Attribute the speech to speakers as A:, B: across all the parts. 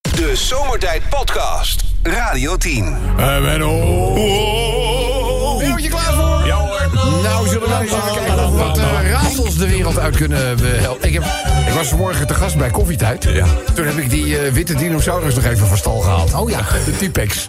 A: De Zomertijd Podcast. Radio 10.
B: Eh, Menno.
C: Ben je klaar voor?
B: Ja hoor.
C: Nou, zullen we eens even kijken of wat eh, raadsels de wereld uit kunnen eh, helpen. Ik, heb, ik was vanmorgen te gast bij Koffietijd.
B: Ja.
C: Toen heb ik die eh, witte dinosaurus nog even van stal gehaald. Oh ja. De T-Pex.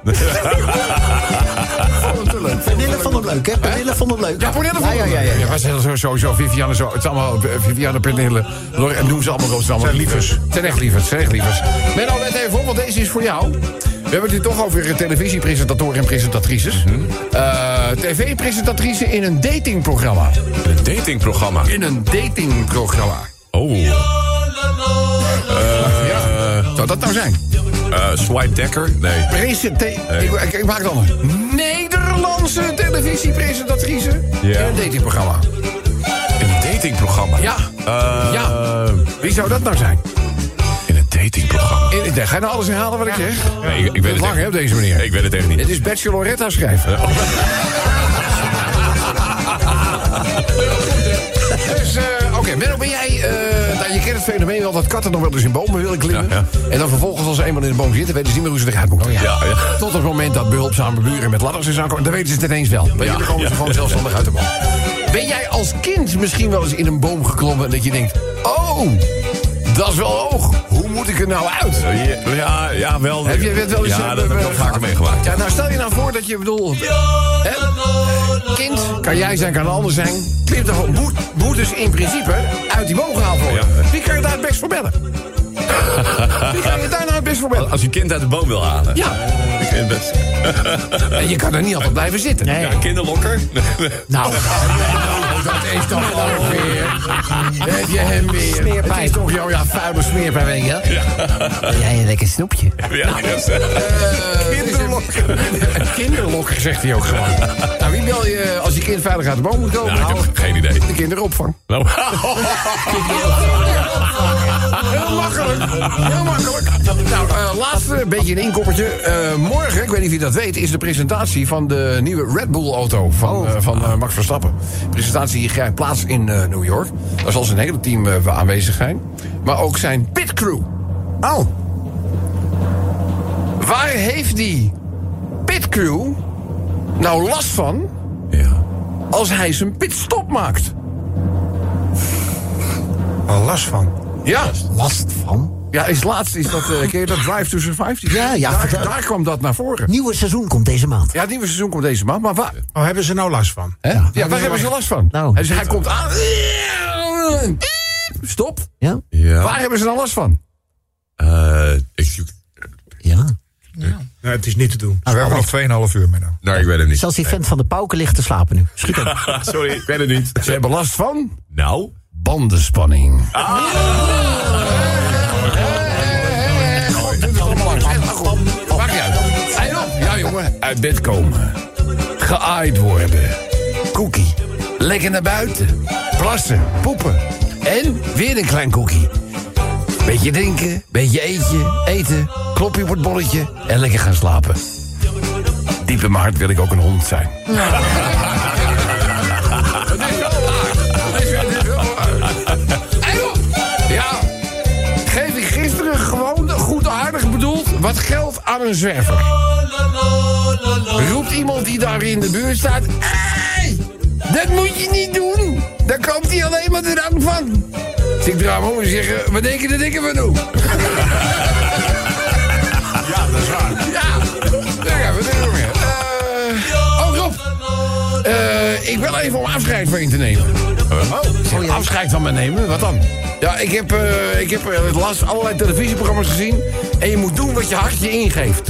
D: Pernille vond het leuk, hè? Pernille vond het leuk.
C: Ja, Pernille
D: ja, ja, ja, ja.
C: was heel zo, sowieso Viviane zo. Het is allemaal eh, Viviane Pernille. Lor- En doen ze allemaal roos. Zijn lievers. Het zijn echt lievers. het Zijn echt lievers. Menno, let even op, want deze is voor jou. We hebben het hier toch over eh, televisiepresentatoren en presentatrices. Eh, TV-presentatrice in een datingprogramma.
B: Een datingprogramma.
C: In een datingprogramma.
B: Oh.
C: ja. Zou dat nou zijn?
B: Eh, swipe Dekker? Nee.
C: Presente ik, ik, ik maak dan een Nederlandse televisiepresentatrice.
B: Ja.
C: In een datingprogramma.
B: Een datingprogramma?
C: Ja.
B: Eh,
C: Ja. Wie zou dat nou zijn?
B: In een datingprogramma?
C: In, ga je nou alles herhalen wat ik zeg?
B: Nee, ik, ik weet
C: Dat is
B: het
C: lang,
B: echt
C: hè, op deze manier.
B: Ik weet het echt niet.
C: Dit is Bacheloretta schrijven. Dus, eh, Oké, Menno, ben jij... eh, nou, je kent het fenomeen wel dat katten nog wel eens in bomen willen klimmen.
B: Ja, ja. Oh,
C: En dan vervolgens, als ze eenmaal in de boom zitten... weten ze niet meer hoe ze eruit moeten.
B: Ja, ja.
C: Tot het moment dat behulpzame buren met ladders is aankomen... dan weten ze het ineens wel. Weet je, dan komen ze
B: ja.
C: gewoon zelfstandig uit de boom. Ben jij als kind misschien wel eens in een boom geklommen... en dat je denkt, oh, dat is wel hoog. Hoe moet ik er nou uit?
B: Ja, Eh, ja, ja, wel.
C: Heb je het wel eens...
B: Ja,
C: eh,
B: dat heb ik wel
C: eh,
B: vaker meegemaakt.
C: Ja, nou stel je nou voor dat je, bedoel... Hè, kind, kan jij zijn, kan een ander zijn. Pim toch gewoon moet, moet dus in principe uit die boom gehaald worden.
B: Ja.
C: Wie kan je daar het best voor bellen? Wie kan je daar nou het best voor bellen?
B: Als je kind uit de boom wil halen.
C: Ja.
B: Ik vind het best.
C: En je kan er niet altijd blijven zitten.
B: Ja, een kinderlokker?
C: Nou, Oh, dat is toch ook weer. Heb je hem weer.
D: Smeerpijp.
C: Het is toch jouw ja, vuile smeerpijn, weet je wel?
D: Jij een lekker snoepje.
C: Nou,
B: Ja, dat is- Nou,
C: Kinderlokker. Kinderlokker, zegt hij ook gewoon. Nou, wie bel je als je kind veilig uit de boom moet komen?
B: Nou, ik
C: Nou,
B: heb geen idee.
C: de kinderopvang.
B: Nou,
C: Heel makkelijk. Heel makkelijk. Nou, eh, laatste, een beetje een inkoppertje. Eh, morgen, ik weet niet of je dat weet, is de presentatie van de nieuwe Red Bull-auto van, eh, van eh, Max Verstappen. De presentatie grijpt plaats in eh, New York. Daar zal zijn hele team eh, aanwezig zijn. Maar ook zijn pitcrew. Oh. Waar heeft die pitcrew nou last van
B: ja.
C: als hij zijn pitstop maakt?
E: Al last van.
C: Ja.
D: Last van.
C: Ja, is laatst is dat, eh ken je dat Drive to Survive? Die-
D: Ja, ja,
C: Daar,
D: vertel.
C: daar kwam dat naar voren.
D: Nieuwe seizoen komt deze maand.
C: Ja, het nieuwe seizoen komt deze maand, maar waar,
E: Oh, hebben ze nou last van?
C: hè? Ja, waar hebben ze last van?
D: Nou.
C: Hij- hij komt aan. Stop.
D: Ja?
C: Waar
B: Ja.
C: hebben ze dan last van?
B: Eh, ik,
D: Ja.
E: Nee, Nou, het is niet te
C: Nou,
E: doen. We hebben nog 2,5 uur, Menno.
B: nou, ik weet het niet.
D: Zelfs die vent van de pauken ligt te slapen nu. Schiet hem.
C: Ah,
B: Sorry, ik weet het niet.
C: Ze hebben last van
B: Nou?
C: bandenspanning. Ah. Maakt niet uit. Eind op. Ja, jongen. Uit bed komen. Geaaid worden. Koekie. Lekker naar buiten. Plassen. Poepen. En weer een klein koekie. Beetje drinken, beetje eetje, eten, klopje op het bolletje en lekker gaan slapen. Diep in mijn hart wil ik ook een hond zijn. Het is wel waar. Het is wel- het is wel waar. En op. Ja. Geef ik gisteren gewoon goed aardig bedoeld wat geld aan een zwerver. Roept iemand die daar in de buurt staat. "Ei, dat moet je niet doen. Daar komt hij alleen maar de rang van. Dus ik draai me om en zeg, eh, wat denk je dat ik ervan doe?
E: Ja, dat is waar.
C: Ja, ja wat doen we meer? Eh, oh, Rob. Eh, ik wil even om afscheid van je te nemen. Oh, afscheid van me nemen? Wat dan? Ja, ik heb, eh, ik heb eh, laatst allerlei televisieprogramma's gezien. En je moet doen wat je hart je ingeeft.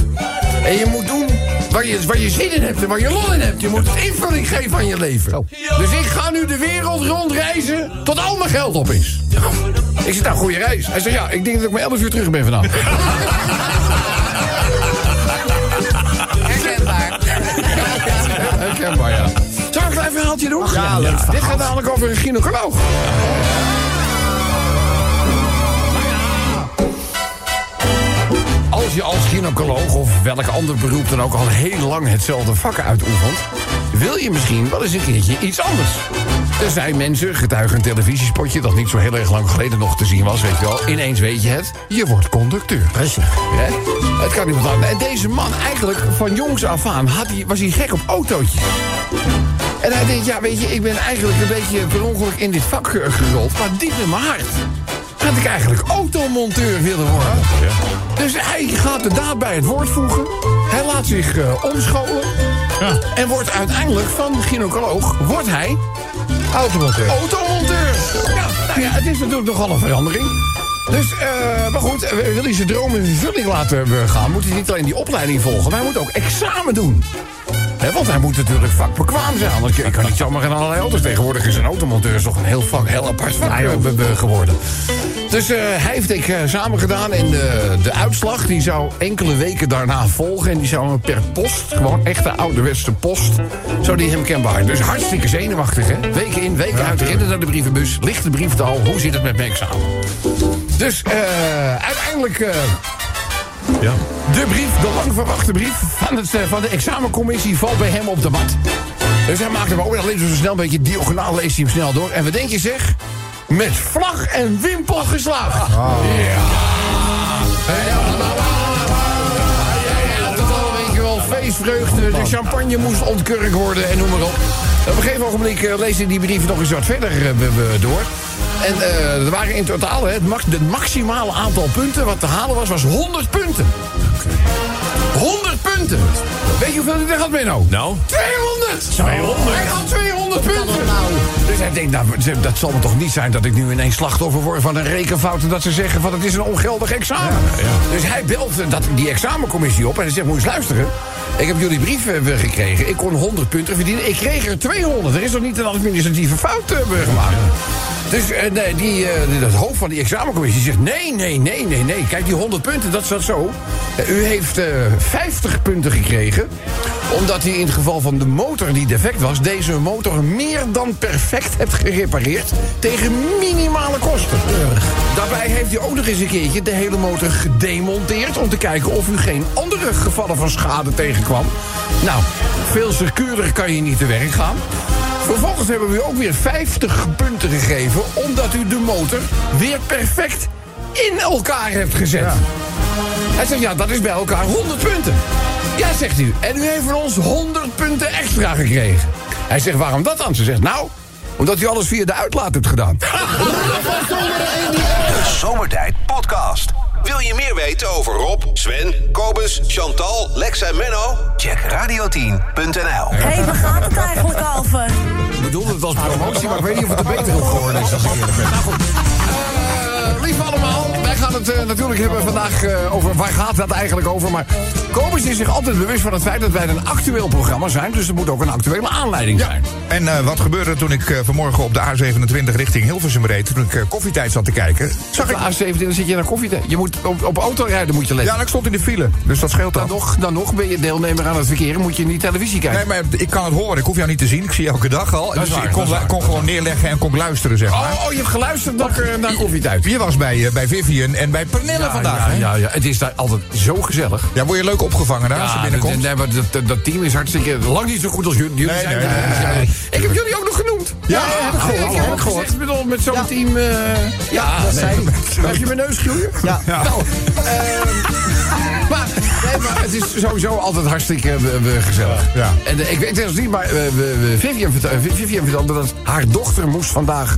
C: En je moet doen waar je, waar je zin in hebt en waar je lol in hebt. Je moet invulling geven aan je leven. Dus ik ga nu de wereld rondreizen tot al mijn geld op is. Ik zit aan goede reis. Hij zegt, ja, ik denk dat ik maar 11 uur terug ben vanavond. Herkenbaar, ja. Zal ik een klein verhaaltje doen? Ja, leuk Dit gaat namelijk over een gynaecoloog. Als je als gynaecoloog of welk ander beroep dan ook al heel lang hetzelfde vak uitoefent... wil je misschien wel eens een keertje iets anders. Er zijn mensen, getuigen een televisiespotje... dat niet zo heel erg lang geleden nog te zien was, weet je wel. Ineens weet je het, je wordt conducteur.
D: Rustig.
C: Hè? Het kan niet anders. En deze man, eigenlijk van jongs af aan, had hij, was hij gek op autootjes. En hij denkt, ja, weet je, ik ben eigenlijk een beetje per ongeluk in dit vak eh, gerold. Maar diep in mijn hart had ik eigenlijk automonteur willen worden. Dus hij gaat de daad bij het woord voegen. Hij laat zich eh, omscholen. En wordt uiteindelijk van gynaecoloog, wordt hij
E: Automonteur.
C: automonteur. Ja, nou ja, het is natuurlijk nogal een verandering. Dus, eh, maar goed, eh, wil hij zijn droom in vervulling laten eh, gaan... moet hij niet alleen die opleiding volgen, maar hij moet ook examen doen. Hè, want hij moet natuurlijk vakbekwaam zijn. Want je je kan niet zomaar in allerlei auto's. Tegenwoordig is een automonteur is toch een heel, vak, heel apart vak eh, be- be- geworden. Dus eh, hij heeft ik samen gedaan. En de, de uitslag die zou enkele weken daarna volgen. En die zou hem per post, gewoon echte ouderwetse post... zou die hem kenbaar. Dus hartstikke zenuwachtig, hè? Weken in, weken uit, rennen naar de brievenbus. Ligt de brief er al? Hoe zit het met mijn examen? Dus eh, uiteindelijk... eh,
B: Ja.
C: de brief, de lang verwachte brief van, het, eh, van de examencommissie valt bij hem op de mat. Dus hij maakt hem ook, en dan leest hij zo snel een beetje diagonaal, leest hij hem snel door. En wat denk je zeg? Met vlag en wimpel geslagen. Ja. Ja, dat al, weet je wel, Feestvreugde, de champagne moest ontkurkt worden en noem maar op. Op een gegeven ogenblik eh, lees hij die brief nog eens wat verder eh, we- we door. En eh, er waren in totaal, hè, het max, het maximale aantal punten wat te halen was, was 100 punten. 100 punten! Weet je hoeveel hij er had, Menno?
B: Nou?
C: 200! 200! Hij had 200 punten! Dus hij denkt, nou, ze- dat zal me toch niet zijn dat ik nu ineens slachtoffer word van een rekenfout... en dat ze zeggen van het is een ongeldig examen. Dus hij belt eh, dat, die examencommissie op en hij zegt, moet je eens luisteren. Ik heb jullie brief eh, weer gekregen, ik kon 100 punten verdienen. Ik kreeg er 200, er is nog niet een administratieve fout eh, weer gemaakt. Dus eh, nee, die, eh, die- dat hoofd van die examencommissie zegt... nee, nee, nee, nee, nee. Kijk, die 100 punten, dat staat zo. Eh, u heeft eh, 50 punten gekregen... omdat u in het geval van de motor die defect was... deze motor meer dan perfect hebt gerepareerd... tegen minimale kosten. Daarbij heeft u ook nog eens een keertje de hele motor gedemonteerd... om te kijken of u geen andere gevallen van schade tegenkwam. Nou, veel secuurder kan je niet te werk gaan... Vervolgens hebben we u ook weer 50 punten gegeven... omdat u de motor weer perfect in elkaar hebt gezet. Hij zegt, ja, dat is bij elkaar 100 punten. Ja, zegt u. En u heeft van ons 100 punten extra gekregen. Hij zegt, waarom dat dan? Ze zegt, nou, omdat u alles via de uitlaat hebt gedaan.
A: De Zomertijd Podcast. Wil je meer weten over Rob, Sven, Kobus, Chantal, Lex en Menno? Check radio10.nl.
F: Hé, hey, waar gaat het eigenlijk over?
C: Ik bedoelde het als promotie, maar ik weet niet of het er beter op geworden is. Als ik eerlijk ben. Nou goed. Eh, Lieve allemaal, wij gaan het eh, natuurlijk hebben vandaag eh, over waar gaat dat eigenlijk over. Maar Kobus is zich altijd bewust van het feit dat wij een actueel programma zijn. Dus er moet ook een actuele aanleiding zijn.
E: En eh, wat gebeurde toen ik eh, vanmorgen op de A27 richting Hilversum reed... toen ik eh, koffietijd zat te kijken? Zag ik...
C: Zag ik A17, dan zit je naar koffie te... Je moet op, op autorijden moet je letten.
E: Ja, en ik stond in de file, dus dat scheelt
C: Dan
E: dan.
C: nog, dan nog ben je deelnemer aan het verkeer en moet je niet televisie kijken.
E: Nee, maar ik kan het horen. Ik hoef jou niet te zien. Ik zie je elke dag al.
C: is
E: Dus
C: waar,
E: ik
C: dat
E: kon,
C: is waar.
E: kon gewoon neerleggen en kon luisteren, zeg maar.
C: Oh, oh, je hebt geluisterd naar, eh, naar koffietijd.
E: Je was bij, eh, bij Vivian en bij Pernille vandaag,
C: ja,
E: hè?
C: ja, ja, het is daar altijd zo gezellig.
E: Ja, word je leuk opgevangen daar als je
C: Ja,
E: binnenkomt?
C: Ah, dat- nee, maar dat, dat, dat team is hartstikke lang niet zo goed als jullie. jullie
E: Nee,
C: zijn,
E: nee, nee, nee, nee.
C: Ik heb jullie ook nog genoemd.
E: Ja, ja, heb ik gehoord,
C: Ik heb ook gehoord. Ik bedoel, met zo'n team... eh, ja, dat zijn... Heb je mijn neus groeien? Ja. Nou, ehm, maar, nee, maar het is sowieso altijd hartstikke eh, we- we gezellig.
E: Ja.
C: En eh, ik weet het niet, maar eh, we- we- Vivian, vertel- eh, Vivian vertelde dat haar dochter moest vandaag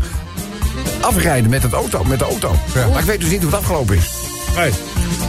C: afrijden met, het auto, met de auto.
E: Ja.
C: Maar ik weet dus niet hoe het afgelopen is.
E: Nee.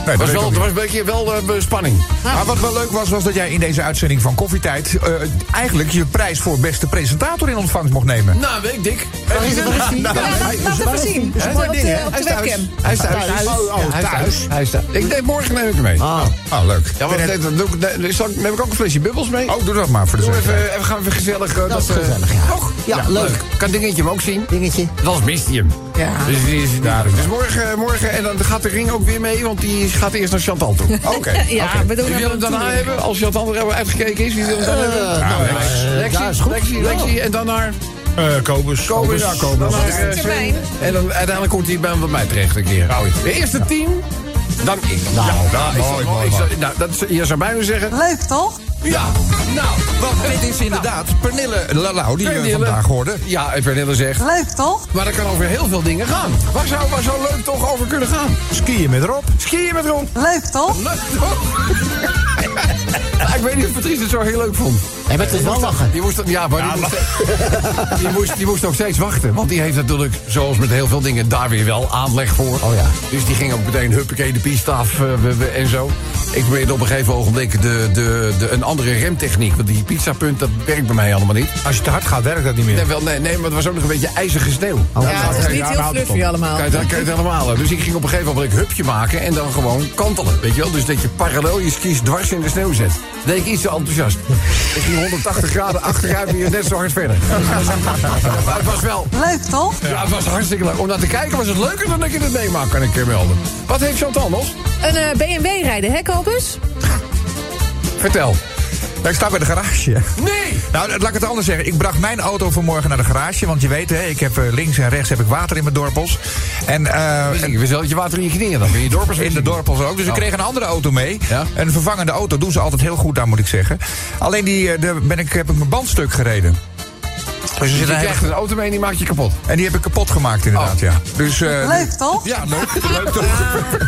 E: Nee,
C: Het
E: dat
C: was,
E: weet ik
C: wel,
E: ook
C: het
E: niet.
C: was een beetje wel eh, spanning.
E: Maar wat wel leuk was, was dat jij in deze uitzending van Koffietijd... eh, eigenlijk je prijs voor beste presentator in ontvangst mocht nemen.
C: Nou, weet ik dik.
D: Waar is hij?
F: Laat het even zien.
D: Hij is
F: Op de-
E: hè?
F: Op de webcam.
C: Hij is thuis.
D: Thuis.
C: Oh, oh,
D: Ja, hij is
C: thuis.
D: thuis.
C: Hij is thuis. Ik denk morgen neem ik hem mee.
D: Ah,
E: Oh, leuk.
C: Ja, want
E: Ik vind
C: dat- dat doe ik- nee, zal ik- neem ik ook een flesje bubbels mee?
E: het- Oh, doe dat maar voor de
C: Doe even,
E: zekerheid.
C: even gaan we gezellig. eh, dat
D: is
C: eh,
D: gezellig, ja.
C: Toch?
D: Ja, leuk.
C: Kan dingetje hem ook zien?
D: dingetje.
C: Dan mist hij hem.
F: Ja.
C: Dus, die is- dus morgen, morgen, en dan gaat de ring ook weer mee, want die gaat eerst naar Chantal toe. Ah,
E: Oké.
F: Ja,
E: oké.
F: we doen
C: Wie wil hem nou daarna
F: toedoen.
C: hebben? Als Chantal er uitgekeken is, wie wil hem dan hebben?
E: Nou, Lex.
C: Eh, Lexi,
D: ja, is goed.
C: Lexi, Lexi, en dan naar
B: Kobus.
C: Eh, Kobus. Ja, Kobus. Dan naar,
F: is de
C: eh,
F: termijn?
C: En dan uiteindelijk komt hij bij bij mij terecht een keer. De eerste tien Dan ik.
D: Nou,
C: ja, nou, ik zou-
E: mooi, mooi,
C: ik zou-
E: mooi.
C: nou, dat is- je zou bijna zeggen.
F: Leuk toch?
C: Ja, nou.
E: Want dit is inderdaad
B: Eh,
E: Pernille Lalau die we vandaag hoorden.
C: Ja, en Pernille zegt.
F: Leuk toch?
C: Maar dat kan over heel veel dingen gaan. Waar zou, waar zou leuk toch over kunnen gaan?
E: Skiën met Rob.
C: Skiën met Ron.
F: Leuk toch?
C: Leuk toch? Ja, ik weet niet of Patrice het zo heel leuk vond.
D: En met het wel lachen.
C: Die moest, ja, maar die, moest, die, moest, die moest ook steeds wachten. Want die heeft natuurlijk, zoals met heel veel dingen, daar weer wel aanleg voor.
D: Oh ja.
C: Dus die ging ook meteen huppakee de piste af eh, we- we- en zo. Ik probeerde op een gegeven ogenblik de, de, de, een andere remtechniek. Want die pizzapunt, dat werkt bij mij allemaal niet.
E: Als je te hard gaat, werkt dat niet meer.
C: Nee, wel, nee, nee, maar het was ook nog een beetje ijzige sneeuw.
G: Ja, het is niet heel fluffy allemaal.
C: Kijk, dan kan je het helemaal. hè. Dus ik ging op een gegeven moment een hupje maken en dan gewoon kantelen. Weet je wel? Dus dat je parallel je skis dwars in de sneeuw zet. Dat deed ik iets te enthousiast. Ik ging 180 graden achteruit en je net zo hard verder. Maar het was wel.
F: Leuk toch?
C: Ja, het was hartstikke leuk. Om naar te kijken was het leuker dan dat je het meemaakt, kan ik je melden. Wat heeft Chantal nog?
G: Een eh, BMW rijden, hè, Kobus?
C: Vertel.
E: Nou, ik sta bij de garage.
C: Nee!
E: Nou, laat ik het anders zeggen. Ik bracht mijn auto vanmorgen naar de garage. Want je weet, hè, ik heb eh, links en rechts heb ik water in mijn dorpels. En, eh,
C: Dus Ik wist je water in je knieën dan. Ben je dorpers
E: in de dorpels ook. Dus ik
C: Oh.
E: kreeg een andere auto mee.
C: Ja.
E: Een vervangende auto. Doen ze altijd heel goed aan, moet ik zeggen. Alleen die, eh, daar ben ik, heb ik mijn band stuk gereden. Dus er
C: Je
E: zit een
C: krijgt
E: hele...
C: een auto mee en die maakt je kapot.
E: En die heb ik kapot gemaakt, inderdaad,
C: Oh.
E: ja. Dus, eh,
F: Leuk toch?
E: Ja, leuk. leuk toch?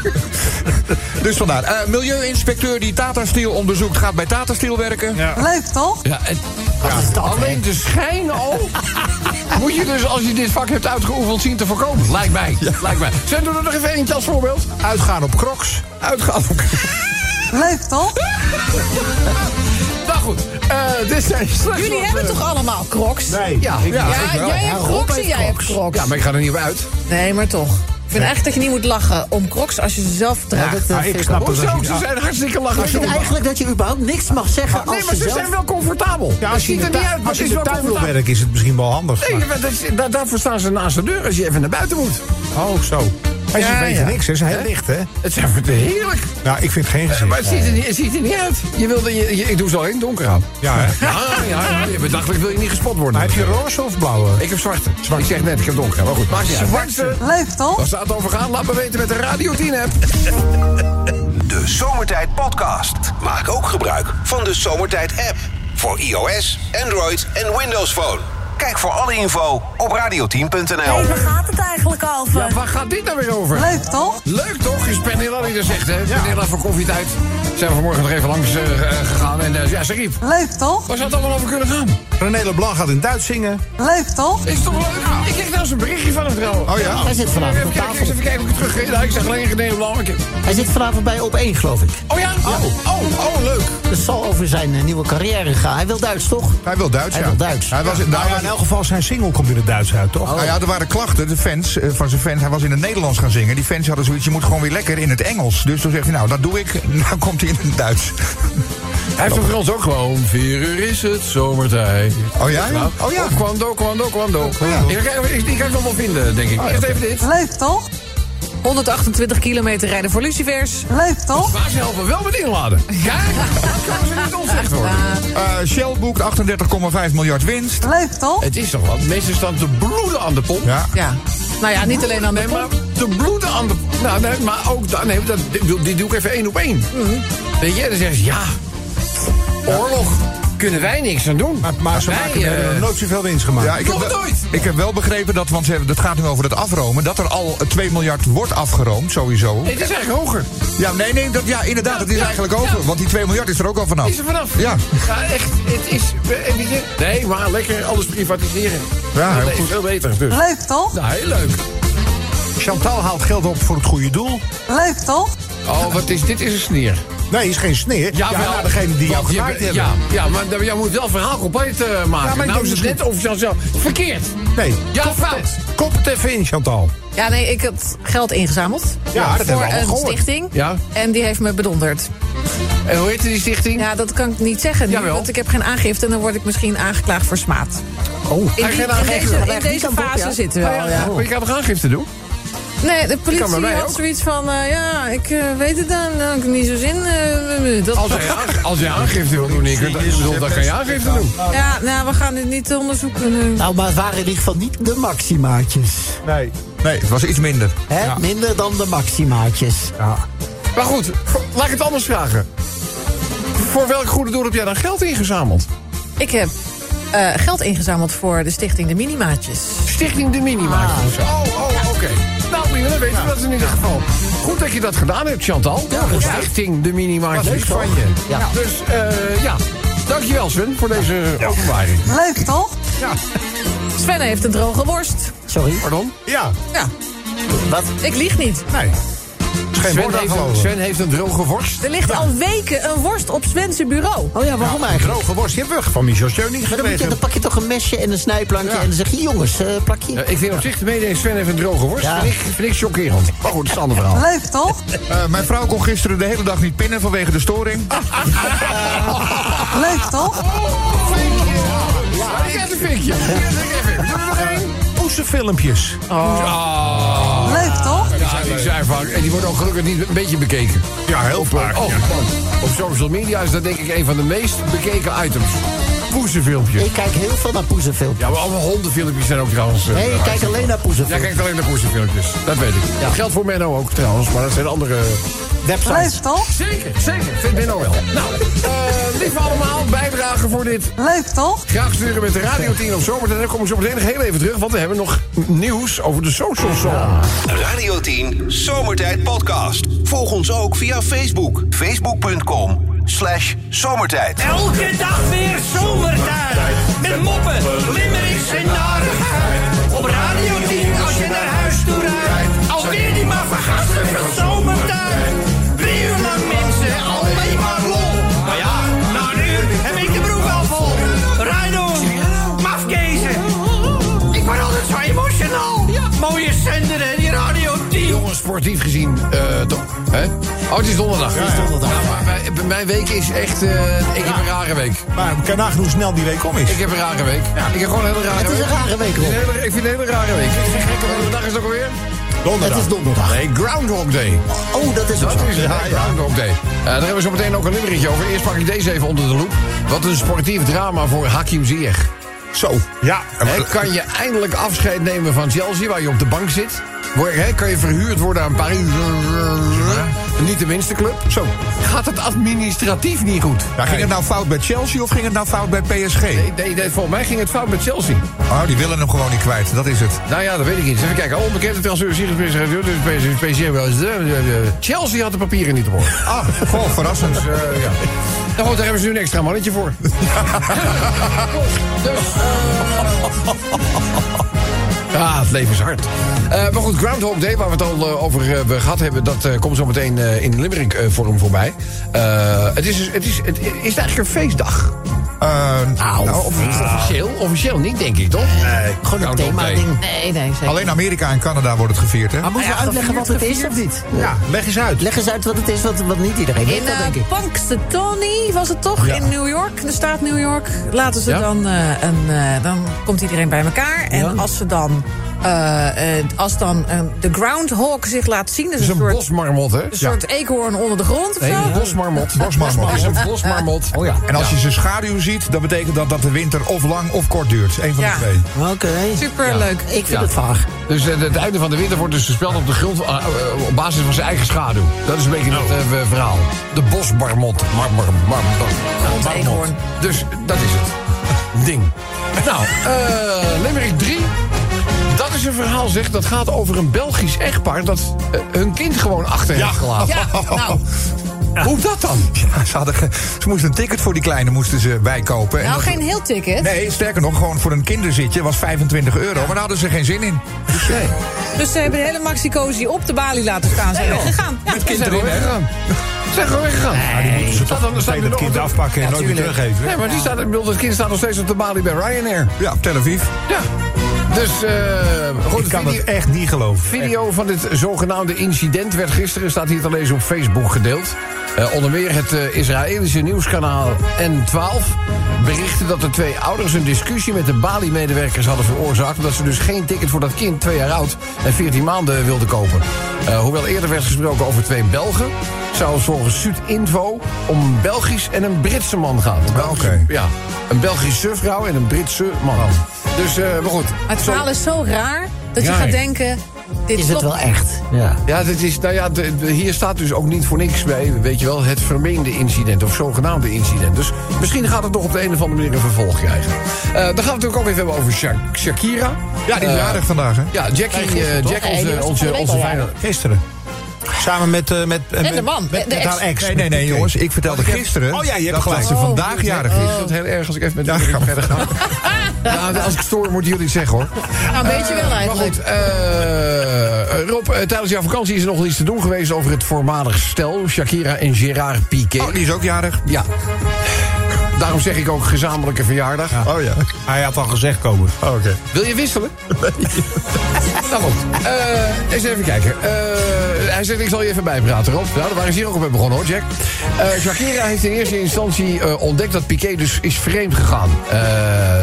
E: dus vandaar. Eh, milieuinspecteur die Tata Steel onderzoekt gaat bij Tata Steel werken.
F: Leuk toch?
C: Ja, en, alleen de schijn al. moet je dus als je dit vak hebt uitgeoefend zien te voorkomen. Lijkt mij. Lijkt mij. Zet er nog even eentje als voorbeeld.
E: Uitgaan op Crocs.
C: Uitgaan.
F: Leuk toch?
C: Nou goed, Eh, dit zijn slechts
G: Jullie
C: wat,
G: hebben
C: eh,
G: toch allemaal crocs?
B: Nee.
C: Ja, ja,
G: Ja,
C: ik wel.
G: jij hebt crocs en jij hebt crocs.
C: Ja, maar ik ga er niet op uit.
G: Nee, maar toch. Ik vind echt dat je niet moet lachen om crocs als je ze zelf
C: eh,
G: draagt.
B: Ah, ik snap het.
C: Hoezo?
B: wel.
C: Ze zijn hartstikke
D: Ik vind
C: lachelijk.
D: eigenlijk dat je überhaupt niks mag zeggen
C: Nee,
D: als
C: maar
D: je
C: ze zijn
D: zelf...
C: wel comfortabel.
B: Ja,
C: Dat
B: als je in
C: ziet
B: de
C: er niet uit,
B: tuin-
C: maar
B: als
C: het
B: je in
C: is
B: de
C: wel
B: tuin wil
C: comfortabel.
B: werken, is het misschien wel handig.
C: Nee,
B: maar-
C: maar dat is- daar- daarvoor staan ze naast de deur als je even naar buiten moet.
B: Oh, zo. Maar ze
G: Ja,
B: weten
G: ja.
B: niks, hè? Ze zijn heel licht, hè?
C: Het is even heerlijk.
B: Nou, ik vind geen
C: Maar het
B: gezicht.
C: ziet er, niet- het ziet er niet uit. Je wilde, je, je- ik doe ze al in het donker aan.
B: Ja, hè?
C: Ja, ja, ja. Je bedachtelijk wil je niet gespot worden.
B: Maar heb je roze of blauwe?
C: Ik heb zwarte. Ik zeg net, ik heb donker. Maar goed, maakt niet uit. Zwarte.
F: Leuk toch?
C: Als het over gaat, laat me weten met de Radio 10 app.
A: De Zomertijd Podcast. Maak ook gebruik van de Zomertijd app. Voor iOS, Android en Windows Phone. Kijk voor alle info op radio10.nl.
F: Hey, waar gaat het eigenlijk
C: Ja,
F: over?
C: waar gaat dit nou weer over?
F: Leuk toch?
C: Leuk toch? Is Penilla die er zegt, hè? Penilla voor koffietijd. Zijn we vanmorgen nog even langs eh, eh, gegaan en eh, ja, ze riep.
F: Leuk toch?
C: Waar zou het allemaal over kunnen gaan?
B: René Leblanc gaat in Duits zingen.
F: Leuk toch?
C: Is toch leuk? Ik kreeg nou zo'n berichtje van hem trouwens.
B: Oh ja.
D: Hij zit vanavond
C: Even
D: op
C: kijken, ik eens
D: tafel.
C: even kijken of ik het terug... Nou, ik zeg alleen geen Nederland. Ik heb-
D: Hij zit vanavond bij op één, geloof ik.
C: Oh ja? Oh, oh, oh, leuk.
D: Dat zal over zijn eh, nieuwe carrière gaan. Hij wil Duits, toch?
E: Hij wil Duits,
D: Hij
E: ja.
D: wil Duits.
E: Hij was,
B: Nou ja, in elk geval zijn single komt in het Duits uit, toch?
E: Nou ja, er waren klachten de fans, eh, van zijn fans. Hij was in het Nederlands gaan zingen. Die fans hadden zoiets, je moet gewoon weer lekker in het Engels. Dus toen zegt hij, nou, dat doe ik. Nou komt hij in het Duits.
C: Hij heeft toch voor ons ook gewoon... Vier uur is het, zomertijd.
E: Oh ja?
C: Nou,
E: Oh ja.
C: oh, Kwando, kwando, kwando. Ik ga- ik- Die kan ik nog wel vinden, denk ik. Eerst even dit.
F: Leuk toch?
G: 128 kilometer rijden voor Lucifers.
F: Leuk toch?
C: Maar ze helpen wel met inladen. Ja, dat kan ze niet ontzegd worden.
E: Eh, Shell boekt 38,5 miljard winst.
F: Leuk toch?
C: Het is toch wat? Mensen staan te bloeden aan de pomp.
E: Ja.
G: Ja. Nou ja, niet alleen aan de
C: Nee, maar
G: pomp.
C: te bloeden aan de... Nou, nee, maar ook... da- Nee, dat, die, die doe ik even één op één. Weet je, dan zeggen ze, ja, oorlog. Kunnen wij niks aan doen.
B: Maar, maar ze
C: Wij,
B: maken
C: eh,
B: er nooit zoveel winst gemaakt.
E: Ja, ik heb,
C: Nog
E: wel-
C: nooit.
E: ik heb wel begrepen dat, want ze hebben, het gaat nu over het afromen... dat er al 2 miljard wordt afgeroomd, sowieso.
C: Het is eigenlijk hoger.
E: Ja, nee, nee, dat, ja, inderdaad, het is
C: Ja,
E: eigenlijk
C: ja.
E: over. Want die 2 miljard is er ook al vanaf.
C: Is er vanaf.
E: Ja.
C: echt. Het is... eh, weet je, Nee, maar lekker alles privatiseren.
E: Ja,
B: Eh,
E: heel
C: dat is
E: goed.
C: veel beter. Dus.
F: Leuk toch?
C: Nou, heel leuk.
B: Chantal haalt geld op voor het goede doel.
F: Leuk toch?
C: Oh, wat is... Dit is een sneer.
B: Nee, is geen sneer. Ja,
C: wel.
B: naar degene die jou
C: Want je
B: gemaakt
C: bent-
B: hebben.
C: Ja, ja, maar dan- jij moet wel het verhaal compleet eh, maken.
B: ik denk
C: nou is het
B: misschien-
C: net of je zo... Verkeerd.
B: Nee,
C: Ja, fout.
B: kop het even in, Chantal.
G: Ja, nee, ik had geld ingezameld.
B: Ja, dat hebben
G: voor
B: we allemaal
G: een
B: gehoord.
G: stichting.
C: Ja.
G: En die heeft me bedonderd.
C: En hoe heette die stichting?
G: Ja, dat kan ik niet zeggen nu,
C: Jawel.
G: want ik heb geen aangifte... en dan word ik misschien aangeklaagd voor smaad.
C: Oh,
G: In, die- in deze, in deze fase zitten we al, ja.
C: Maar je kan toch aangifte doen?
G: Nee, de
C: Oh, kan bij
G: politie
C: mij
G: had
C: ook.
G: zoiets van... eh, ja, ik eh, weet het dan, dan heb ik niet zo zin. eh, eh, dat,
C: Als jij, aang- als jij aangifte wil doen, ik bedoel, dan kan je aangifte doen.
G: ja, nou, we gaan dit niet onderzoeken. eh.
D: Nou, maar het waren in ieder geval niet de maximaatjes.
B: Nee.
E: Nee, het was iets minder.
D: Hè? Minder dan de maximaatjes.
B: Ja.
C: Maar goed, laat ik het anders vragen. Voor welk goede doel heb jij dan geld ingezameld?
G: Ik heb eh, geld ingezameld voor de stichting De Minimaatjes.
C: Stichting de
B: Ah.
C: Minimaatjes. of zo. Oh, oh, oké. Nou, prima, dan weten we dat in ieder geval. Goed dat je dat gedaan hebt, Chantal. Toch? Stichting de Minimaatjes.
B: Dat is
C: van je. Dus, eh ja. Dankjewel, Sven, voor deze openbaring.
F: Leuk toch?
G: Sven heeft een droge worst.
D: Sorry,
C: Pardon?
B: Ja,
G: Ja,
D: wat?
G: ik lieg niet.
B: nee. Het is geen
C: Sven
B: woord aan
C: heeft, een,
B: geloven.
C: Sven heeft een droge worst.
G: Er ligt al weken een worst op Sven's bureau.
D: Oh ja, waarom eigenlijk?
B: Droge worst heb weg van Michel Schöning
D: Maar dan, moet je,
B: gekregen.
D: dan pak je toch een mesje en een snijplankje en dan zeg je... jongens, eh, plak
C: Ja,
D: hier.
C: ik vind op zich de mededeling Sven heeft een droge worst.
D: Ja.
C: Vind, ik, vind ik chockerend. Maar goed, dat is een ander verhaal.
F: Leuk toch?
E: Eh, mijn vrouw kon gisteren de hele dag niet pinnen vanwege de storing.
C: Ah,
F: Leuk toch?
C: Ja, dat vind ik je.
B: Poesenfilmpjes.
F: Leuk toch?
C: Ja, Ah, die zijn vaak. En die worden ook gelukkig niet een beetje bekeken.
B: Ja, heel vaak.
C: Oh, man. Op social media is dat denk ik een van de meest bekeken items. Poesenfilmpjes.
D: Ik kijk heel veel naar poezenfilmpjes.
C: Ja, maar allemaal hondenfilmpjes zijn ook trouwens. eh,
D: Nee, ik kijk alleen naar
C: Jij
D: poezenfilmpjes.
C: kijkt alleen naar poesenfilmpjes. Dat weet ik. Dat geldt voor Menno ook trouwens, maar dat zijn andere...
F: Leuk toch?
C: Zeker, zeker. Vindt Menno wel. Nou, eh lieve allemaal, bijdragen voor dit
F: Leuk toch?
C: Graag sturen met de Radio 10 op zometeen. Dan komen we zo meteen nog heel even terug, want we hebben nog nieuws over de Social Song.
A: Radio 10 Zomertijd Podcast. Volg ons ook via Facebook. Facebook.com slash zomertijd.
H: Elke dag weer zomertijd. Met moppen, limmerings en narigheid. Op Radio 10 als je naar huis toe rijdt. Alweer die maar vergastige zomertijd. Drie uur lang mensen, alleen maar lol. Maar ja, na een uur heb ik de broek al vol. Rijdon, mafkezen. Ik word altijd zo emotional. Mooie zender en die Radio 10.
C: Jongens, sportief gezien, eh do- hè? Oh, het is donderdag. Het is donderdag. Nou, maar mijn, mijn week is echt... eh, ik heb een rare week.
B: Maar ik kan nagaan hoe snel die week om is.
C: Ik heb een rare week. Ik heb gewoon een hele rare
D: Het is een
C: week.
D: rare week,
C: Ik
D: Rob.
C: vind het een hele- Ik vind het een hele rare week. Ik vind het gekke, want de dag is het ook alweer?
D: Het is donderdag.
C: Nee, Groundhog Day.
D: Oh, dat is ook
C: Dat
D: zo.
C: is het, hè, Groundhog Day. Eh, daar hebben we zo meteen ook een limmeretje over. Eerst pak ik deze even onder de loep. Wat een sportief drama voor Hakim Ziyech.
E: Zo.
B: Ja,
C: Hè, kan je eindelijk afscheid nemen van Chelsea, waar je op de bank zit? Word- hè, kan je verhuurd worden aan Paris? Niet de minste club.
E: Zo.
C: Gaat het administratief niet goed?
E: Ja, ging het nou fout bij Chelsea of ging het nou fout bij PSG?
C: Nee, nee, nee, volgens mij ging het fout met Chelsea.
E: Oh, die willen hem gewoon niet kwijt. Dat is het.
C: Nou ja, dat weet ik niet. Even kijken. Onbekende transfer, Ziyech, PSG, dus PSG, wel eens, eh, eh, eh. Chelsea had de papieren niet op orde.
E: Ah, goh, verrassend.
C: Eh, ja. Nou goed, daar hebben ze nu een extra mannetje voor. dus, eh, Ja, het leven is hard. Eh, maar goed, Groundhog Day, waar we het al eh, over eh, gehad hebben... dat eh, komt zo meteen eh, in de Limerick-vorm voorbij. Eh, het, is, het, is, het is eigenlijk een feestdag.
E: Eh, nou,
C: of, niet officieel? Officieel niet, denk ik, toch? Nee.
D: Gewoon een thema-ding.
G: Nee, nee, zeker.
E: alleen Amerika en Canada wordt het gevierd, hè?
D: Maar moeten we uitleggen wat het is of niet?
B: ja, leg eens uit.
D: Leg eens uit wat het is, wat, wat niet iedereen
G: In
D: weet, dat denk ik.
G: uh, Punxsutawney was het toch? In New York, de staat New York. Laten ze
C: Ja.
G: dan eh, een. eh, dan komt iedereen bij elkaar. En als ze dan. eh, eh, als dan eh, de groundhog zich laat zien. Dus
C: Het is
G: een,
C: een
G: soort,
C: bosmarmot, hè?
G: een soort eekhoorn onder de grond of
C: Nee,
G: zo.
C: een bosmarmot.
E: Bosmarmot.
C: Het is een bosmarmot. Oh ja.
E: En als je zijn schaduw ziet, dan betekent dat dat de winter of lang of kort duurt. Eén van
G: Ja.
E: de twee.
D: Oké.
G: Superleuk.
D: Ik vind
C: Ja.
D: het vaag.
C: Dus eh, het einde van de winter wordt dus gespeeld op de grond eh, eh, op basis van zijn eigen schaduw. Dat is een beetje het eh, verhaal. De bosbarmot. Mar, mar, mar, mar-
G: Grondeekhoorn.
C: barmot. Dus dat is het. Ding. Nou, eh Limerick 3. Dat is een verhaal, zeg, dat gaat over een Belgisch echtpaar... dat eh, hun kind gewoon achter heeft gelaten.
G: Ja, nou,
C: Hoe dat dan?
E: Ja, ze, hadden ge- ze moesten een ticket voor die kleine moesten ze bijkopen. En
G: nou
E: dat-
G: geen heel ticket.
E: Nee, sterker nog, gewoon voor een kinderzitje was 25 euro. Maar daar hadden ze geen zin in.
C: Nee.
G: Dus ze hebben de hele Maxi Cosi op de balie laten staan. Zijn weggegaan. Ja.
C: Ze zijn gewoon weggegaan. Ze zijn gewoon weggegaan.
B: Ah, Ze toch
C: Staat dan-
B: meteen
C: staat er
B: het
C: nog
B: kind
C: een-
B: afpakken en
G: Ja,
B: nooit meer
G: tuurlijk.
B: teruggeven. Nou.
C: Nee, maar die staat, ik bedoel, dat kind staat nog steeds op de balie bij Ryanair.
E: Ja, op Tel Aviv.
C: Ja. Dus, eh goed,
B: Ik kan
C: video,
B: het echt niet geloven.
C: video van dit zogenaamde incident werd gisteren, staat hier te lezen op Facebook gedeeld. Eh, onder meer het eh, Israëlische nieuwskanaal N12 berichtte dat de twee ouders een discussie met de Bali-medewerkers hadden veroorzaakt. Omdat ze dus geen ticket voor dat kind, twee jaar oud en 14 maanden, wilden kopen. Eh, hoewel eerder werd gesproken over twee Belgen, zou het volgens Zuid-Info om een Belgisch en een Britse man gaan.
E: Ah, oké.
C: Ja, een Belgische vrouw en een Britse man. Dus, eh, maar goed.
G: Maar het
C: Zo-
G: verhaal is zo raar dat je
C: Ja,
G: gaat
C: ja.
G: denken... dit
D: Is het wel echt? Ja.
C: Ja, dit is, nou ja, de- de- hier staat dus ook niet voor niks bij, weet je wel, het vermeende incident of zogenaamde incident. Dus misschien gaat het nog op de een of andere manier een vervolg krijgen. Eh, dan gaan we het natuurlijk ook even hebben over Sha- Shakira.
E: Ja, die is
C: Eh,
E: jarig vandaag, hè?
C: Ja, Jackie, eh, Jack,
D: Nee, die
C: onze,
D: was
C: onze,
D: van de week
C: onze
D: al
C: fijne...
B: Gisteren. Samen met... eh, met en
G: de man,
B: Met,
G: de
B: met
G: ex.
B: haar ex.
E: Nee, nee, nee,
B: Oké.
E: jongens. Ik vertelde gisteren
B: Oh ja, je hebt
E: dat
B: gelijk.
E: ze vandaag jarig
C: Ik
E: is.
C: vind het heel erg als ik even met jullie verder ga. Ja, als ik stoor, moeten jullie het zeggen, hoor.
G: Nou, een beetje wel
C: Maar
G: eigenlijk.
C: goed, eh, Rob, eh, tijdens jouw vakantie is er nog iets te doen geweest over het voormalig stel, Shakira en Gerard Piqué.
E: Oh, die is ook jarig.
C: Ja. Daarom zeg ik ook gezamenlijke verjaardag.
E: Oh ja.
B: Hij had al gezegd komen.
E: Oké.
C: Wil je wisselen? nou goed. Eh, eens even kijken. Eh, hij zegt, ik zal je even bijpraten, Rob. Nou, daar is hier ook op mee begonnen, hoor, Jack. Eh, Shakira heeft in eerste instantie eh, ontdekt dat Piqué dus is vreemd gegaan. Eh,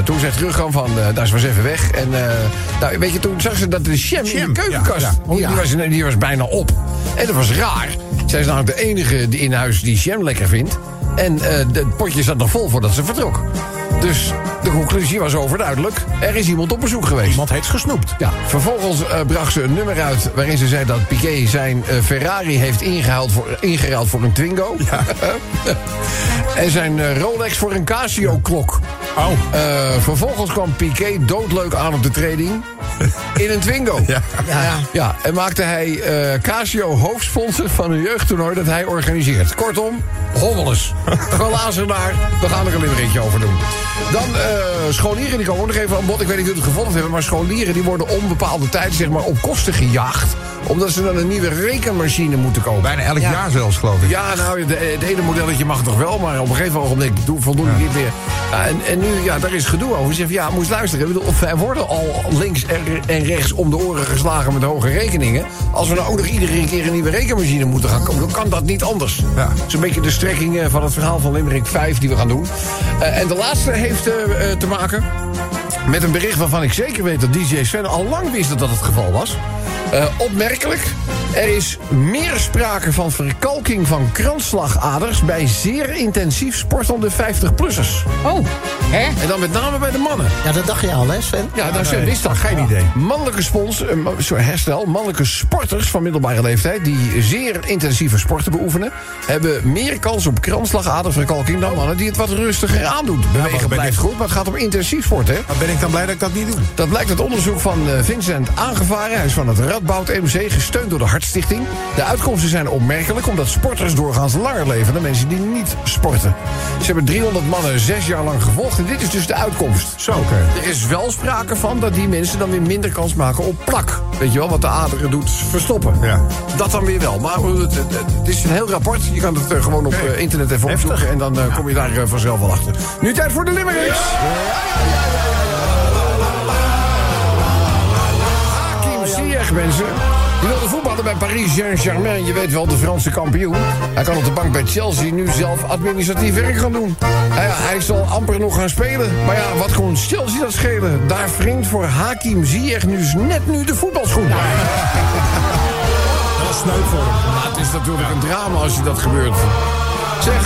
C: toen zij terugkwam van, eh daar is was even weg. En eh, nou, weet je, toen zag ze dat de sham, in
B: Sham,
C: de keukenkast...
B: ja,
C: Die, was, die was bijna op. En dat was raar. Zij is namelijk de enige die in huis die sham lekker vindt. En eh, de- het potje zat nog vol voordat ze vertrok. Dus de conclusie was overduidelijk. Er is iemand op bezoek geweest.
B: Iemand heeft gesnoept.
C: Ja, vervolgens eh, bracht ze een nummer uit waarin ze zei dat Piqué zijn eh, Ferrari heeft ingehaald voor, ingeruild voor een Twingo. en zijn eh, Rolex voor een Casio-klok.
B: Oh.
C: Eh, vervolgens kwam Piqué doodleuk aan op de training. In een Twingo. Ja, ja. en maakte hij eh, Casio hoofdsponsor van een jeugdtoernooi dat hij organiseert. Kortom, hommeles. Glazen naar, we gaan er een limmeretje over doen. Dan eh, scholieren, die komen ook nog even aan bod. Ik weet niet of jullie het gevolgd hebben, maar scholieren die worden onbepaalde tijd zeg maar, op kosten gejaagd. Omdat ze dan een nieuwe rekenmachine moeten kopen.
E: Bijna elk jaar zelfs, geloof ik.
C: Ja, nou, het- het ene modelletje mag toch wel, maar op een gegeven ogenblik doen voldoende niet meer. Ja, en, en nu, ja, daar is gedoe over. Ze zeggen, ja, moest luisteren. Ik bedoel, of wij worden al links en- en rechts om de oren geslagen met hoge rekeningen. Als we nou ook nog iedere keer een nieuwe rekenmachine moeten gaan kopen, dan kan dat niet anders.
E: Ja.
C: Zo'n beetje de strekking eh, van het verhaal van Limerick 5 die we gaan doen. Eh, en de laatste heeft eh, eh, te maken met een bericht waarvan ik zeker weet dat DJ Sven al lang wist dat dat het geval was. Eh, opmerkelijk, er is meer sprake van verkalking van kransslagaders bij zeer intensief sportende 50-plussers.
G: Oh, hè?
C: En dan met name bij de mannen.
D: Ja, dat dacht je al, hè, Sven?
C: Ja, daar zijn wist dat. Geen
B: idee.
C: Mannelijke spons, eh, ma- sorry, herstel, mannelijke sporters van middelbare leeftijd... die zeer intensieve sporten beoefenen... hebben meer kans op kransslagaderverkalking dan mannen... die het wat rustiger aandoen. Bewegen
B: ben
C: blijft
B: ik-
C: goed, maar het gaat om intensief sport, hè?
B: Maar ben ik dan blij dat ik dat niet doe?
C: Dat blijkt uit onderzoek van eh, Vincent Aangevaren. Hij is van het Radboud MC, gesteund door de Hartstichting. De uitkomsten zijn opmerkelijk, omdat sporters doorgaans langer leven dan mensen die niet sporten. Ze hebben 300 mannen zes jaar lang gevolgd en dit is dus de uitkomst.
B: Zo.
C: Er is wel sprake van dat die mensen dan weer minder kans maken op plak. Weet je wel, wat de aderen doet verstoppen.
B: Ja.
C: Dat dan weer wel. Maar eh, het, het- het is een heel rapport. Je kan het eh, gewoon op eh, internet even opzoeken. En dan eh, kom je daar eh, vanzelf wel achter. Nu tijd voor de limericks. Hakim Ziyech, mensen. Die wilde voetballen bij Paris Saint-Germain. Je weet wel, de Franse kampioen. Hij kan op de bank bij Chelsea nu zelf administratief werk gaan doen. Hij, hij zal amper nog gaan spelen. Maar ja, wat kon Chelsea dat schelen? Daar wringt voor Hakim Ziyech nu s- net nu de voetbalschoen.
B: Dat is sneu voor hem.
C: Maar het is natuurlijk een drama als je dat gebeurt. Zeg,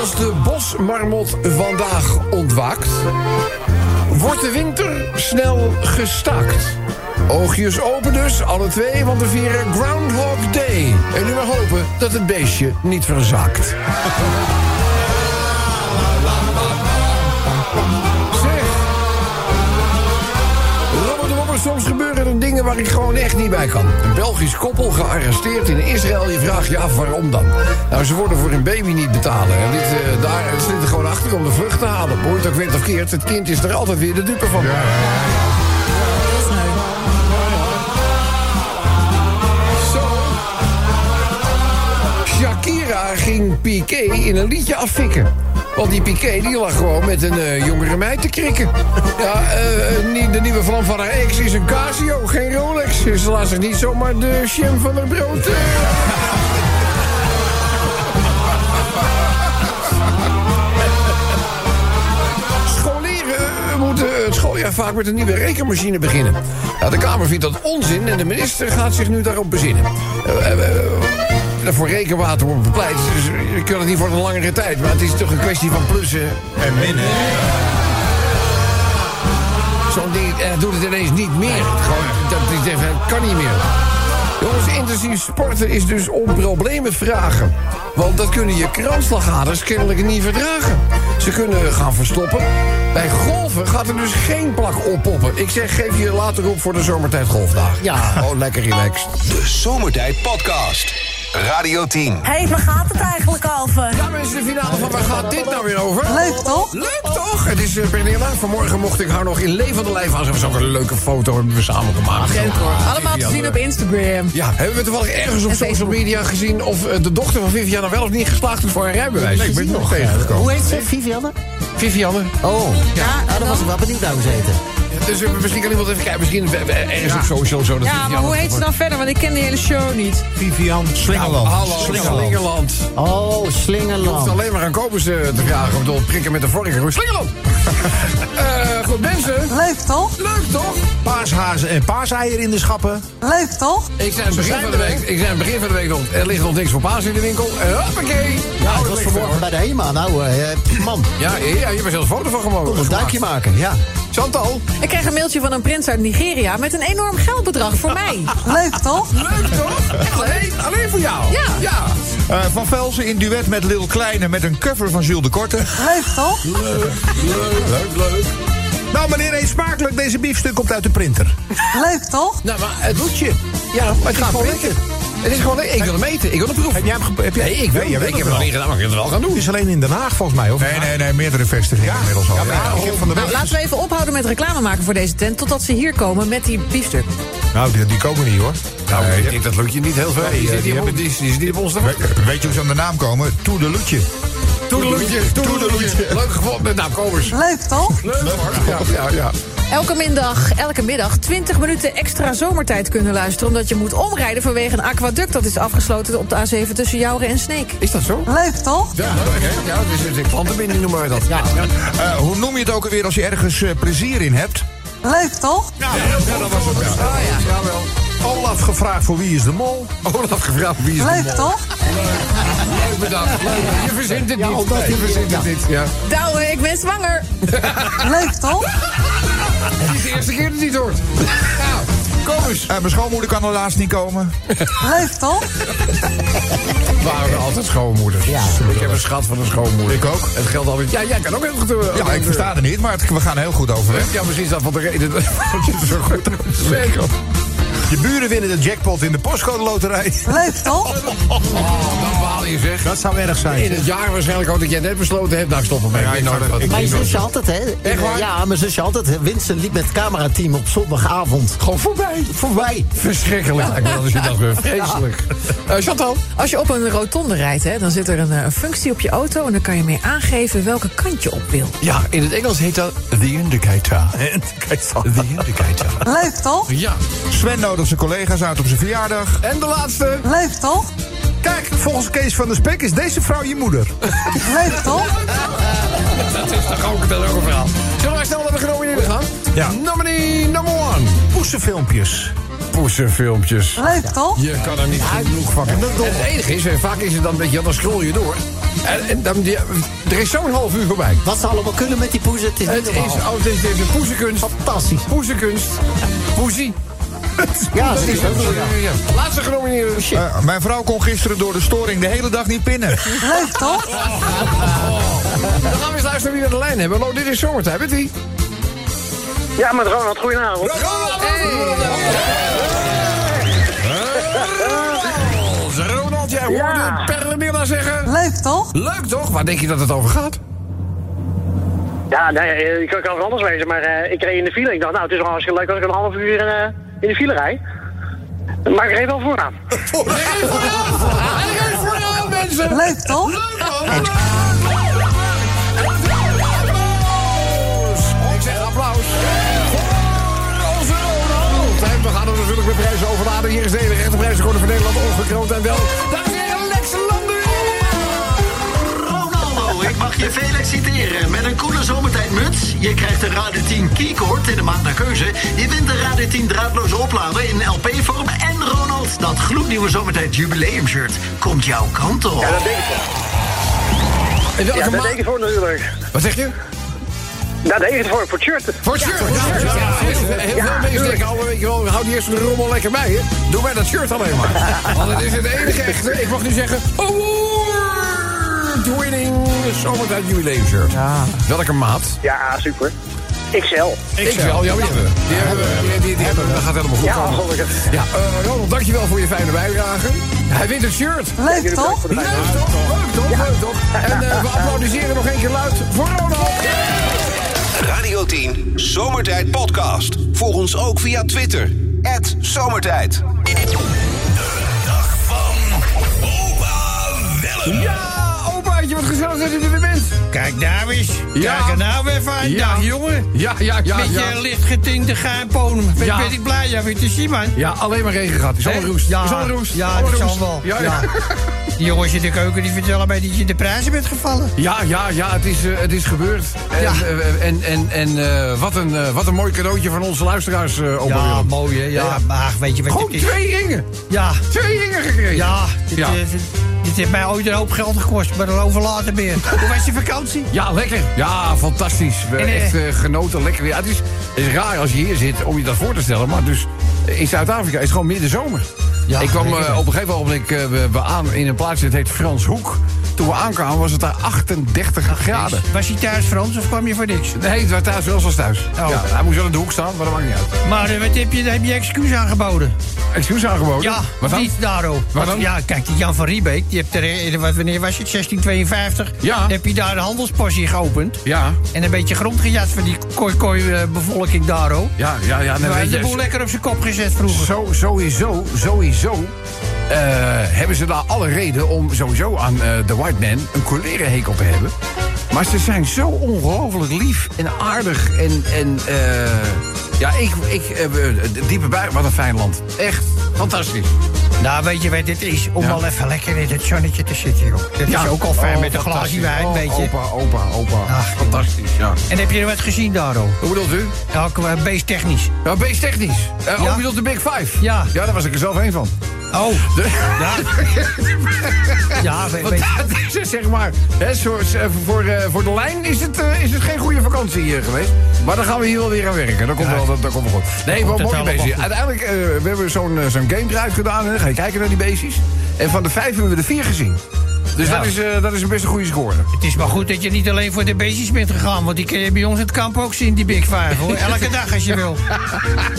C: als de bosmarmot vandaag ontwaakt... wordt de winter snel gestaakt. Oogjes open dus, alle twee, want we vieren Groundhog Day. En nu maar hopen dat het beestje niet verzaakt. Zeg... Robert de Robber, soms gebeuren er dingen waar ik gewoon echt niet bij kan. Een Belgisch koppel gearresteerd in Israël. Je vraagt je af waarom dan. Nou, ze worden voor hun baby niet betalen. En dit, eh, daar het zit er gewoon achter om de vlucht te halen. Hoe je het ook weet of keert, het kind is er altijd weer de dupe van. Zo. Shakira ging Piqué in een liedje afvikken. Want die Piqué die lag gewoon met een eh, jongere meid te krikken. Ja, eh, eh, nie- de nieuwe vlam van haar ex is een Casio, geen Rolex. Dus ze laat zich niet zomaar de sham van haar brood. eh. Scholieren eh, moeten het schooljaar vaak met een nieuwe rekenmachine beginnen. Ja, de Kamer vindt dat onzin en de minister gaat zich nu daarop bezinnen. Eh, eh, eh, Voor rekenwater wordt bepleit. Dus je kunt het niet voor een langere tijd. Maar het is toch een kwestie van plussen
B: En winnen.
C: Zo, zo'n ding. En hij doet het ineens niet meer. Gewoon, dat hij zegt, het kan niet meer. Jongens, intensief sporten is dus om problemen vragen. Want dat kunnen je kransslagaders kennelijk niet verdragen. Ze kunnen gaan verstoppen. Bij golven gaat er dus geen plak oppoppen. Ik zeg, geef je later op voor de zomertijd golfdag.
D: Ja.
C: Gewoon lekker relaxed.
A: De Zomertijd Podcast. Radio 10.
F: Hé, hey, waar gaat het eigenlijk over?
C: Ja, mensen, de finale van waar gaat dit nou weer over?
F: Leuk toch?
C: Leuk toch? Het is eh, Pernilla. Vanmorgen mocht ik haar nog in levende lijf aan. Ze was ook een leuke foto hebben we samen gemaakt. eh,
G: Leuk hoor. Allemaal te zien op Instagram.
C: Ja, hebben we toevallig ergens op
G: En
C: social
G: Facebook.
C: media gezien of eh, de dochter van Vivianne wel of niet geslaagd is voor haar rijbewijs?
E: Nee, ik ben er nog
D: Hoe
E: tegengekomen.
D: heet ze? Vivianne?
C: Vivianne.
D: Oh, ja,
G: en
D: nou,
G: dan?
D: dan was ik wel benieuwd naar hoe ze heette.
C: Dus eh, misschien kan iemand even kijken. Misschien eh, eh, ergens op social zo. Dat
G: Ja, maar hoe heet ze dan verder? Want ik ken de hele show niet.
B: Vivian Slingerland.
C: Hallo,
B: Slingerland.
C: Slingerland. Het
D: Oh,
C: is
D: Slingerland.
C: alleen maar aan kopers eh, te vragen. Om te prikken met de vorige. Gewoon Slingerland! Eh, goed, mensen.
F: Leuk toch?
C: Leuk toch?
B: Paashaas Nou, en paaseier in de schappen.
F: Leuk toch?
C: Ik zei, aan het begin van de week, ik zei aan het begin van de week nog, er ligt nog niks voor paas in de winkel. En hoppakee!
D: Ja,
C: Nou,
D: Ah, ik was
C: het ligt er,
D: vanmorgen bij
C: hoor.
D: de HEMA. Nou, eh, man,
C: Ja, ja, je hebt er zelfs een foto van gemaakt.
D: kom een duikje maken. Ja.
C: Chantal,
G: Ik kreeg een mailtje van een prins uit Nigeria met een enorm geldbedrag voor mij.
F: Leuk toch?
C: leuk toch? Echt alleen, alleen voor jou.
G: Ja.
C: ja.
E: Eh, van Velsen in duet met Lil Kleine met een cover van Jules de Korte.
F: Leuk toch?
C: Leuk, leuk.
B: Nou, meneer, eet smakelijk. Deze biefstuk komt uit de printer.
F: Leuk toch?
C: Nou, maar het doet je. Ja, maar het gaat gewoon lekker. Het is gewoon lekker. Ik wil hem eten. Ik wil hem proeven.
B: Heb jij hem ge- heb jij-
C: Nee, ik, wil,
B: Nee, jij
C: ik
B: weet het
C: heb het nog
B: wel.
C: niet gedaan, maar ik wil het wel gaan
B: Het
C: doen.
B: is alleen in Den Haag, volgens mij. Of?
E: Nee, nee, nee, meerdere vestigingen inmiddels al. Ja,
B: ik heb van de week-
G: Nou, Laten we even ophouden met reclame maken voor deze tent... totdat ze hier komen met die biefstuk.
B: Nou, die, die komen niet, hoor.
C: Nou, ik denk dat lukt je niet heel veel. Die
B: eh,
C: zit
B: die
C: hier op-
B: hebben-
C: die is die is niet op ons te wachten.
E: We- Weet je hoe ze aan de naam komen? Toedeloetje.
C: Toedeloetje, toedeloetje. Leuk gevonden. Nou, komers.
F: Leuk toch?
C: Leuk hoor. Ja, ja, ja.
G: Elke middag, elke middag 20 minuten extra zomertijd kunnen luisteren... omdat je moet omrijden vanwege een aquaduct... dat is afgesloten op de A7 tussen Jouren en Sneek.
C: Is dat zo?
F: Leuk toch?
C: Ja, leuk hè? Ja, het is een klantenbinding noemen we dat. Ja.
E: Eh, hoe noem je het ook alweer als je ergens eh, plezier in hebt?
F: Leuk toch?
B: Oh,
C: Jawel.
B: Olaf gevraagd voor wie is de mol.
C: Olaf gevraagd wie is de
F: Leuk
C: mol.
F: toch?
C: Leuk bedacht. Leuk. Je verzint het niet.
D: omdat
C: Nee, je verzint het niet. Ja.
G: Douwe, ik ben zwanger.
F: Leuk toch?
C: Het is de eerste keer dat hij het hoort. Nou, kom eens.
E: Eh, mijn schoonmoeder kan helaas niet komen.
F: Leuk toch?
C: Waren er altijd schoonmoeders.
D: Ja.
C: Ik heb een schat van een schoonmoeder.
E: Ik ook.
C: Het geldt altijd. Ja, jij kan ook heel goed. eh,
E: Ja, ik versta het niet, maar het- we gaan er heel goed overweg.
C: Ja, misschien is dat van de reden dat je zo goed Oh, uit te spreken.
B: Je buren winnen de jackpot in de postcode loterij.
F: Leuk toch?
C: Oh, dan baal je zeg.
B: Dat zou erg
C: In
B: zijn.
C: het jaar waarschijnlijk ook dat jij net besloten hebt. Nou, ik stop ermee.
B: Ja,
C: Ik weet
B: ik
C: nooit
B: zou dat-
C: wat.
B: ik-
D: Mijn zusje altijd, hè?
C: Echt waar?
D: Ja, mijn zusje altijd. hè. Winston liep met het camerateam op zondagavond
C: Gewoon voorbij.
D: voorbij.
C: Verschrikkelijk. Ik wil dat je dat weer vreselijk. Eh, Chantal.
G: Als je op een rotonde rijdt, hè, dan zit er een, eh, een functie op je auto... en dan kan je mee aangeven welke kant je op wil.
C: Ja, in het Engels heet dat The Indicator. The Indicator.
F: Leuk toch?
C: Ja.
E: Sven nodigt zijn collega's uit op zijn verjaardag.
C: En de laatste.
F: Leuk toch?
B: Kijk, volgens Kees van der Spek is deze vrouw je moeder.
F: Leuk toch?
C: Dat is toch ook, dat is ook een verhaal. Zullen wij snel naar de genomineerden gaan?
B: Ja.
C: Nominee number one.
B: Poesenfilmpjes.
C: Poesenfilmpjes.
F: Leuk toch?
C: Je kan er niet genoeg van hebben. Het enige is, eh, vaak is het dan, weet je, dan scroll je door. En, en dan, die- er is zo'n half uur voorbij.
D: Wat ze allemaal kunnen met die poezen, het is niet
C: Het is,
D: normaal.
C: oh, het is deze poesenkunst.
D: Fantastisch.
C: Poesenkunst. Poesie.
D: Ja,
C: Dat
D: ze
C: is
D: is ook
C: het.
D: zo, ja.
C: Ja. Laatste genomineerde. Shit.
E: Eh, mijn vrouw kon gisteren door de storing de hele dag niet pinnen.
F: Leuk toch?
C: Dan gaan we eens luisteren wie we aan de lijn hebben. Hallo, dit is zomertijd. Met wie?
I: Ja, met Ronald, goedenavond.
C: Ronald. Ronald, jij hoorde
I: Ja.
C: Perlemilla zeggen.
F: Leuk toch?
C: Leuk toch? Waar denk je dat het over gaat?
I: Ja, nee, eh, ik kan ook anders wezen, maar eh, ik reed in de file. Ik dacht, nou, het is wel hartstikke leuk als ik een half uur eh, in de file rijd. Maar ik reed wel vooraan.
C: Hey, vooraan, vooraan. Hey, vooraan, mensen.
F: Leuk toch?
C: Ik zeg applaus voor onze Ronald. En we gaan er natuurlijk met prijzen overladen. Hier is de enige echte prijzenkorde van Nederland ongekroond en wel. Daar is Lex Lander.
J: Ronaldo, ik mag je veel exciteren. Met een coole zomertijdmuts. Je krijgt een Radio 10 keycord in de maand naar keuze. Je wint een Radio 10 draadloze oplader in LP-vorm. En Ronald, dat gloednieuwe zomertijd jubileumshirt komt jouw kant op.
I: Ja, dat denk ik,
C: In welke
I: ja, dat
C: maand-
I: denk ik voor natuurlijk.
C: Wat zeg je?
I: Daar deed ik het voor, voor het shirt.
C: Voor het shirt. Ja, heel veel mensen denken, oh, weet je wel, hou die eerste rommel lekker bij, hè. Doe mij dat shirt alleen maar. Want het is het enige echte, ik mag nu zeggen, award winning zomertijd jubileumshirt. Welke maat?
I: Ja, super. XL.
C: XL, ja, die hebben we. Die hebben we, die, die, die hebben we. Dat gaat helemaal goed
I: Ja,
C: komen.
I: gelukkig.
C: Ja, eh, Ronald, dankjewel voor je fijne bijdrage. Hij wint het shirt.
F: Leuk toch?
C: Leuk toch? Leuk toch? Leuk toch? En eh, we applaudisseren nog één keer luid voor Ronald.
A: Radio 10 Zomertijd Podcast. Volg ons ook via Twitter. Zomertijd.
C: Ja, opaatje, wat gezellig dat je er weer bent.
K: Kijk nou eens.
C: Ja.
K: Kijk er nou even aan.
C: Ja.
K: Dag, jongen.
C: Ja, ja, ja.
K: Met
C: ja.
K: je lichtgetinte gaanponen. Ben,
C: Ja.
K: ben ik blij jou weer te zien, man.
C: Ja, alleen maar regen gehad. Is allemaal
K: Hè?
C: roest.
K: Ja,
C: Is allemaal roest.
K: ja,
C: Allemaal
K: dat
C: roest.
K: zal wel.
C: Ja, ja.
K: Die jongens in de keuken die vertellen mij dat je de prijzen bent gevallen.
C: Ja, ja, ja, het is, eh, het is gebeurd. En,
K: Ja.
C: eh, en, en, en eh, wat, een, eh, wat een mooi cadeautje van onze luisteraars, eh opa
K: Ja,
C: Willem.
K: mooi, hè. Ja,
C: Ja.
K: maar ach, weet je wat
C: Gewoon
K: dit is?
C: twee ringen.
K: Ja,
C: Twee ringen gekregen.
K: ja. Dit,
C: Ja.
K: eh, dit- dit heeft mij ooit een hoop geld gekost, maar daarover later meer. Hoe was je vakantie?
C: Ja, lekker. Ja, fantastisch. We hebben
K: En, eh,
C: echt eh, genoten. Lekker weer. Ja, het, is, het is raar als je hier zit om je dat voor te stellen. Maar dus eh, in Zuid-Afrika is het gewoon midden zomer.
K: Ja,
C: ik kwam
K: lekker,
C: eh,
K: hè?
C: op een gegeven ogenblik eh, we, we aan in een plaatsje, dat heet Frans Hoek. Toen we aankwamen was het daar 38 graden.
K: Was je thuis Frans of kwam je voor niks?
C: Nee, het was thuis wel zoals thuis.
K: Oh.
C: Ja, hij moest wel in de hoek staan, maar dat maakt niet uit.
K: Maar eh, wat heb je, heb je excuus aangeboden?
C: Excuus aangeboden?
K: Ja,
C: Wat dan?
K: niet daarom.
C: Wat dan?
K: Ja, kijk, die Jan van Riebeek, die hebt er, eh, wat- wanneer was het, 1652?
C: Ja.
K: Heb je daar een handelspossie geopend?
C: Ja.
K: En een beetje grond gejat van die eh, kooi-kooi-bevolking daarom.
C: Ja, ja, ja. nee,
K: Daar
C: weet
K: is de
C: je,
K: boel lekker op zijn kop gezet vroeger.
C: Zo, sowieso, sowieso eh, hebben ze daar alle reden om sowieso aan eh, de White Man een collerenhekel te hebben. Maar ze zijn zo ongelooflijk lief en aardig en... en eh, ja, ik... ik eh, de diepe buik, wat een fijn land. Echt fantastisch.
K: Nou, weet je wat dit is? Om
C: Ja.
K: al even lekker in het zonnetje te zitten, joh. Dat
C: Ja.
K: is ook al fijn
C: Oh,
K: met een glaasje
C: fantastisch.
K: wijn,
C: Oh,
K: weet je.
C: Opa, opa, opa.
K: Ach,
C: fantastisch, ja.
K: En heb je er wat gezien daarom?
C: Hoe bedoelt u?
K: Ja, qua beesttechnisch.
C: Ja, beest technisch. Eh,
K: Ja.
C: Oh, u bedoelt de Big Five?
K: Ja.
C: Ja, daar was ik er zelf een van.
K: Oh,
C: De-
K: ja. ja, weet,
C: Want
K: weet-
C: dat is het, zeg maar. Hè, voor, voor, eh, voor de lijn is het, eh, is het geen goede vakantie hier geweest. Maar dan gaan we hier wel weer aan werken. Dat komt
K: Ja.
C: wel, dat, dat komt wel goed. Nee,
K: komt
C: wel
K: het
C: mooi
K: allemaal
C: bezig.
K: goed.
C: Uiteindelijk eh, we hebben we zo'n eh, zo'n game drive gedaan. Hè. Dan Ga je kijken naar die beestjes. En van de vijf hebben we er vier gezien. Dus
K: Ja.
C: dat, is, eh, dat is een best een goede score.
K: het is maar goed dat je niet alleen voor de beestjes bent gegaan. Want die kun je bij ons in het kamp ook zien, die Big Five, hoor. Elke dag als je wil.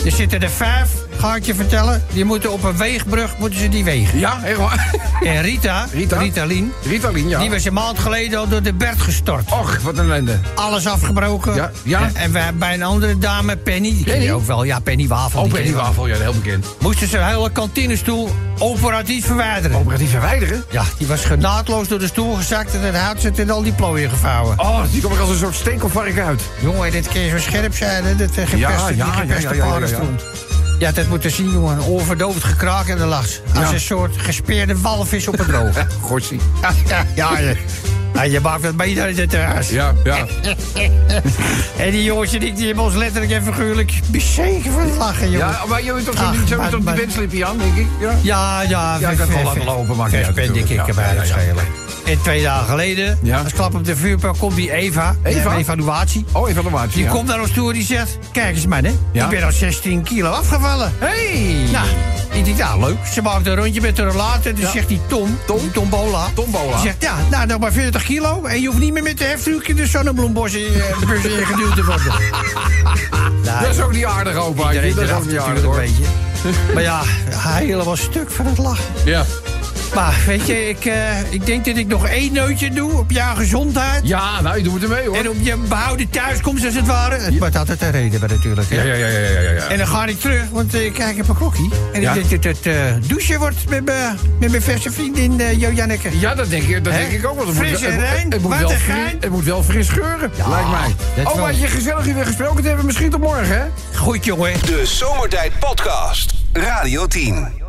K: Er zitten er vijf, ga ik je vertellen. Die moeten op een weegbrug, moeten ze die wegen.
C: Ja, echt waar.
K: En Rita,
C: Rita?
K: Lien,
C: Ritalin, ja.
K: die was een maand geleden al door de Bert gestort.
C: Och, wat een ellende.
K: alles afgebroken.
C: Ja, ja.
K: En, en wij- bij een andere dame, Penny. Die ken
C: Penny?
K: je ook wel. Ja, Penny Wafel.
C: Oh,
K: die ken
C: Penny
K: je wel.
C: Wafel, ja, heel bekend.
K: Moesten ze haar hele kantinestoel operatief verwijderen.
C: Operatief verwijderen?
K: Ja, die was genaadloos door de stoel gezakt en het hout zit in al die plooien gevouwen.
C: Oh, die komt er als een soort stekelvark uit.
K: Jongen, dit keer zo scherp zijn, hè? Dat eh, gepeste,
C: ja,
K: die
C: ja,
K: gepeste
C: ja, ja, ja, ja.
K: paardenstront. Ja, dat moeten zien, jongen. Een Onverdoofd gekraak en de lach. Als
C: Ja.
K: een soort gespeerde walvis op het droog. ja,
C: Gorsie.
K: ja, ja, ja. Ja, je maakt het bij iedereen het terras.
C: Ja, ja.
K: En die jongens en ik die hebben ons letterlijk en figuurlijk bezegen van het lachen, jongen.
C: Ja, maar je bent toch,
K: Ach,
C: zo,
K: Ah, maar-
C: toch die
K: maar-
C: wenslipje aan, denk ik? Ja.
K: Ja, ja,
C: Ja, ik kan het wel laten lopen, maakt niet uit
K: ben ik
C: natuurlijk.
K: ik
C: Ja,
K: erbij
C: ja,
K: het
C: ja, ja.
K: schelen. En twee dagen geleden,
C: Ja.
K: als klap op de vuurpijl, komt die Eva,
C: Eva?
K: eh, evaluatie.
C: Oh, evaluatie.
K: Die
C: ja.
K: komt naar ons toe en die zegt, kijk eens man, hè.
C: Ja.
K: ik ben al 16 kilo afgevallen.
C: Hey!
K: Nou, ik denk, nou leuk, ze maakt een rondje met haar later. Dus
C: Ja.
K: zegt die Tom, Tom, Bola.
C: Tombola.
K: Die zegt, ja, nou nog maar 40 kilo en je hoeft niet meer met de heftrucje de zonnebloembos in eh, bus ingeduwd te worden. nou,
C: dat is ook niet aardig, opa.
K: iedereen
C: Dat is ook
K: eraf
C: niet
K: natuurlijk
C: aardig,
K: een
C: hoor.
K: beetje. Maar ja, hij helemaal stuk van het lachen.
C: Ja.
K: Maar weet je, ik, eh, ik denk dat ik nog één nootje doe op jouw gezondheid.
C: ja, nou, je doet het ermee, hoor.
K: En op je behouden thuiskomst, als het ware. Het wordt altijd een reden bij natuurlijk. Hè?
C: Ja, ja, ja, ja, ja, ja, ja.
K: En dan ga ik terug, want eh, ik kijk op een klokje. En
C: Ja.
K: ik denk dat het eh, douchen wordt met, mijn- met mijn verse vriendin eh Jo Janneke.
C: Ja, dat denk, ik, dat
K: Hè?
C: denk ik ook wel. Het
K: Fris
C: moet-
K: en
C: het moet-
K: rein,
C: het moet
K: wat
C: wel
K: een
C: fris-
K: gein.
C: Het moet wel fris geuren, lijkt mij.
K: dat
C: Oh,
K: wel.
C: wat je gezellig hier weer gesproken te hebben. Misschien tot morgen, hè?
K: Goed, jongen.
A: De Zomertijd Podcast. Radio 10.